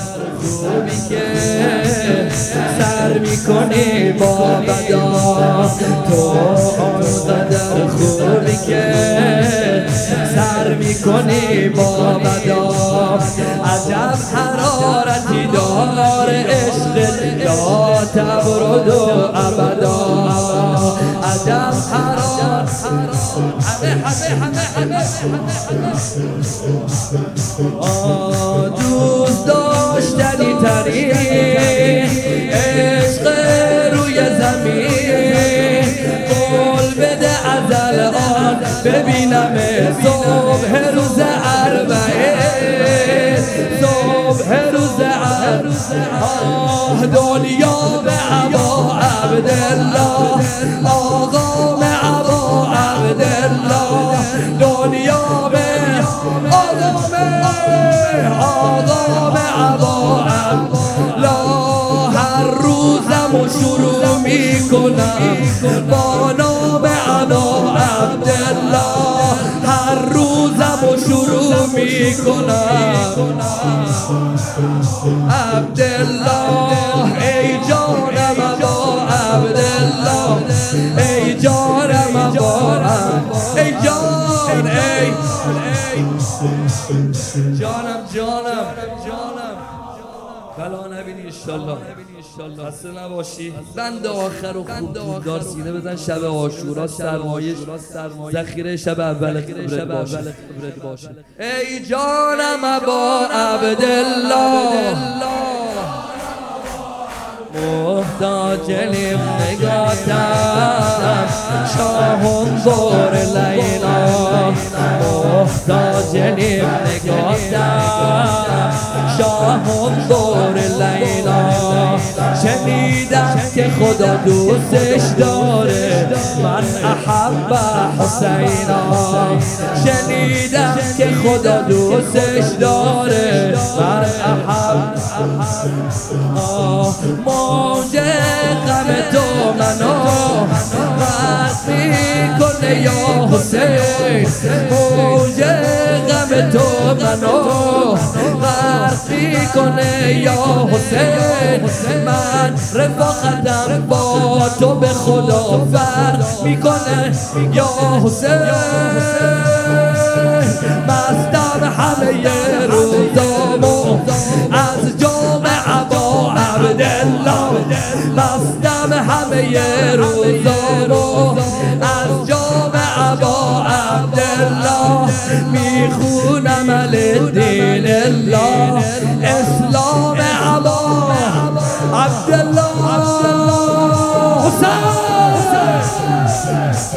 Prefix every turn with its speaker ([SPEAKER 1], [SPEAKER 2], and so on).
[SPEAKER 1] خوبی که سر میکنی با بدا تو آنقدر خوبی که سر میکنی با بدا عجب حرارتی داره عشق لا تبرد و ابدا عجب حرار همه همه همه همه آه، دوست داشتنی ترین عشق روی زمین قول بده از الان ببینم صبح روز اربعه صبح روز اربعه آه دنیا به عبا عبدالله آقام عبا عبدالله دنیا به آدم آدم عباهم لا هر روزم و شروع میکنم با نام عنا عبدالله هر روزم و شروع میکنم عبدالله ای جانم ابا عبدالله ای جانم ابا عبد- ای جان ای جانم جانم جانم بلا نبینی انشالله خسته نباشی بند آخر و خوب دار سینه بزن شب آشورا سرمایش ذخیره شب اول قبرت باشه ای جانم ابا عبدالله محتاج نگاتم شاهم بار لیلا محتاج نگاتم شاهم بار لیلا شنیدم که خدا دوستش داره من احب حسینا شنیدم که خدا دوستش داره من احب موج غم تو منو وصلی کنه یا حسین موج غم تو منو وصلی کنه یا حسین من رفاقتم با تو به خدا فرق میکنه یا حسین مستم همه روزامو از جام عبا عبدالله مستم همه روزامو از جام عبا عبدالله میخونم الدین الله اسلام عبا عبدالله حسین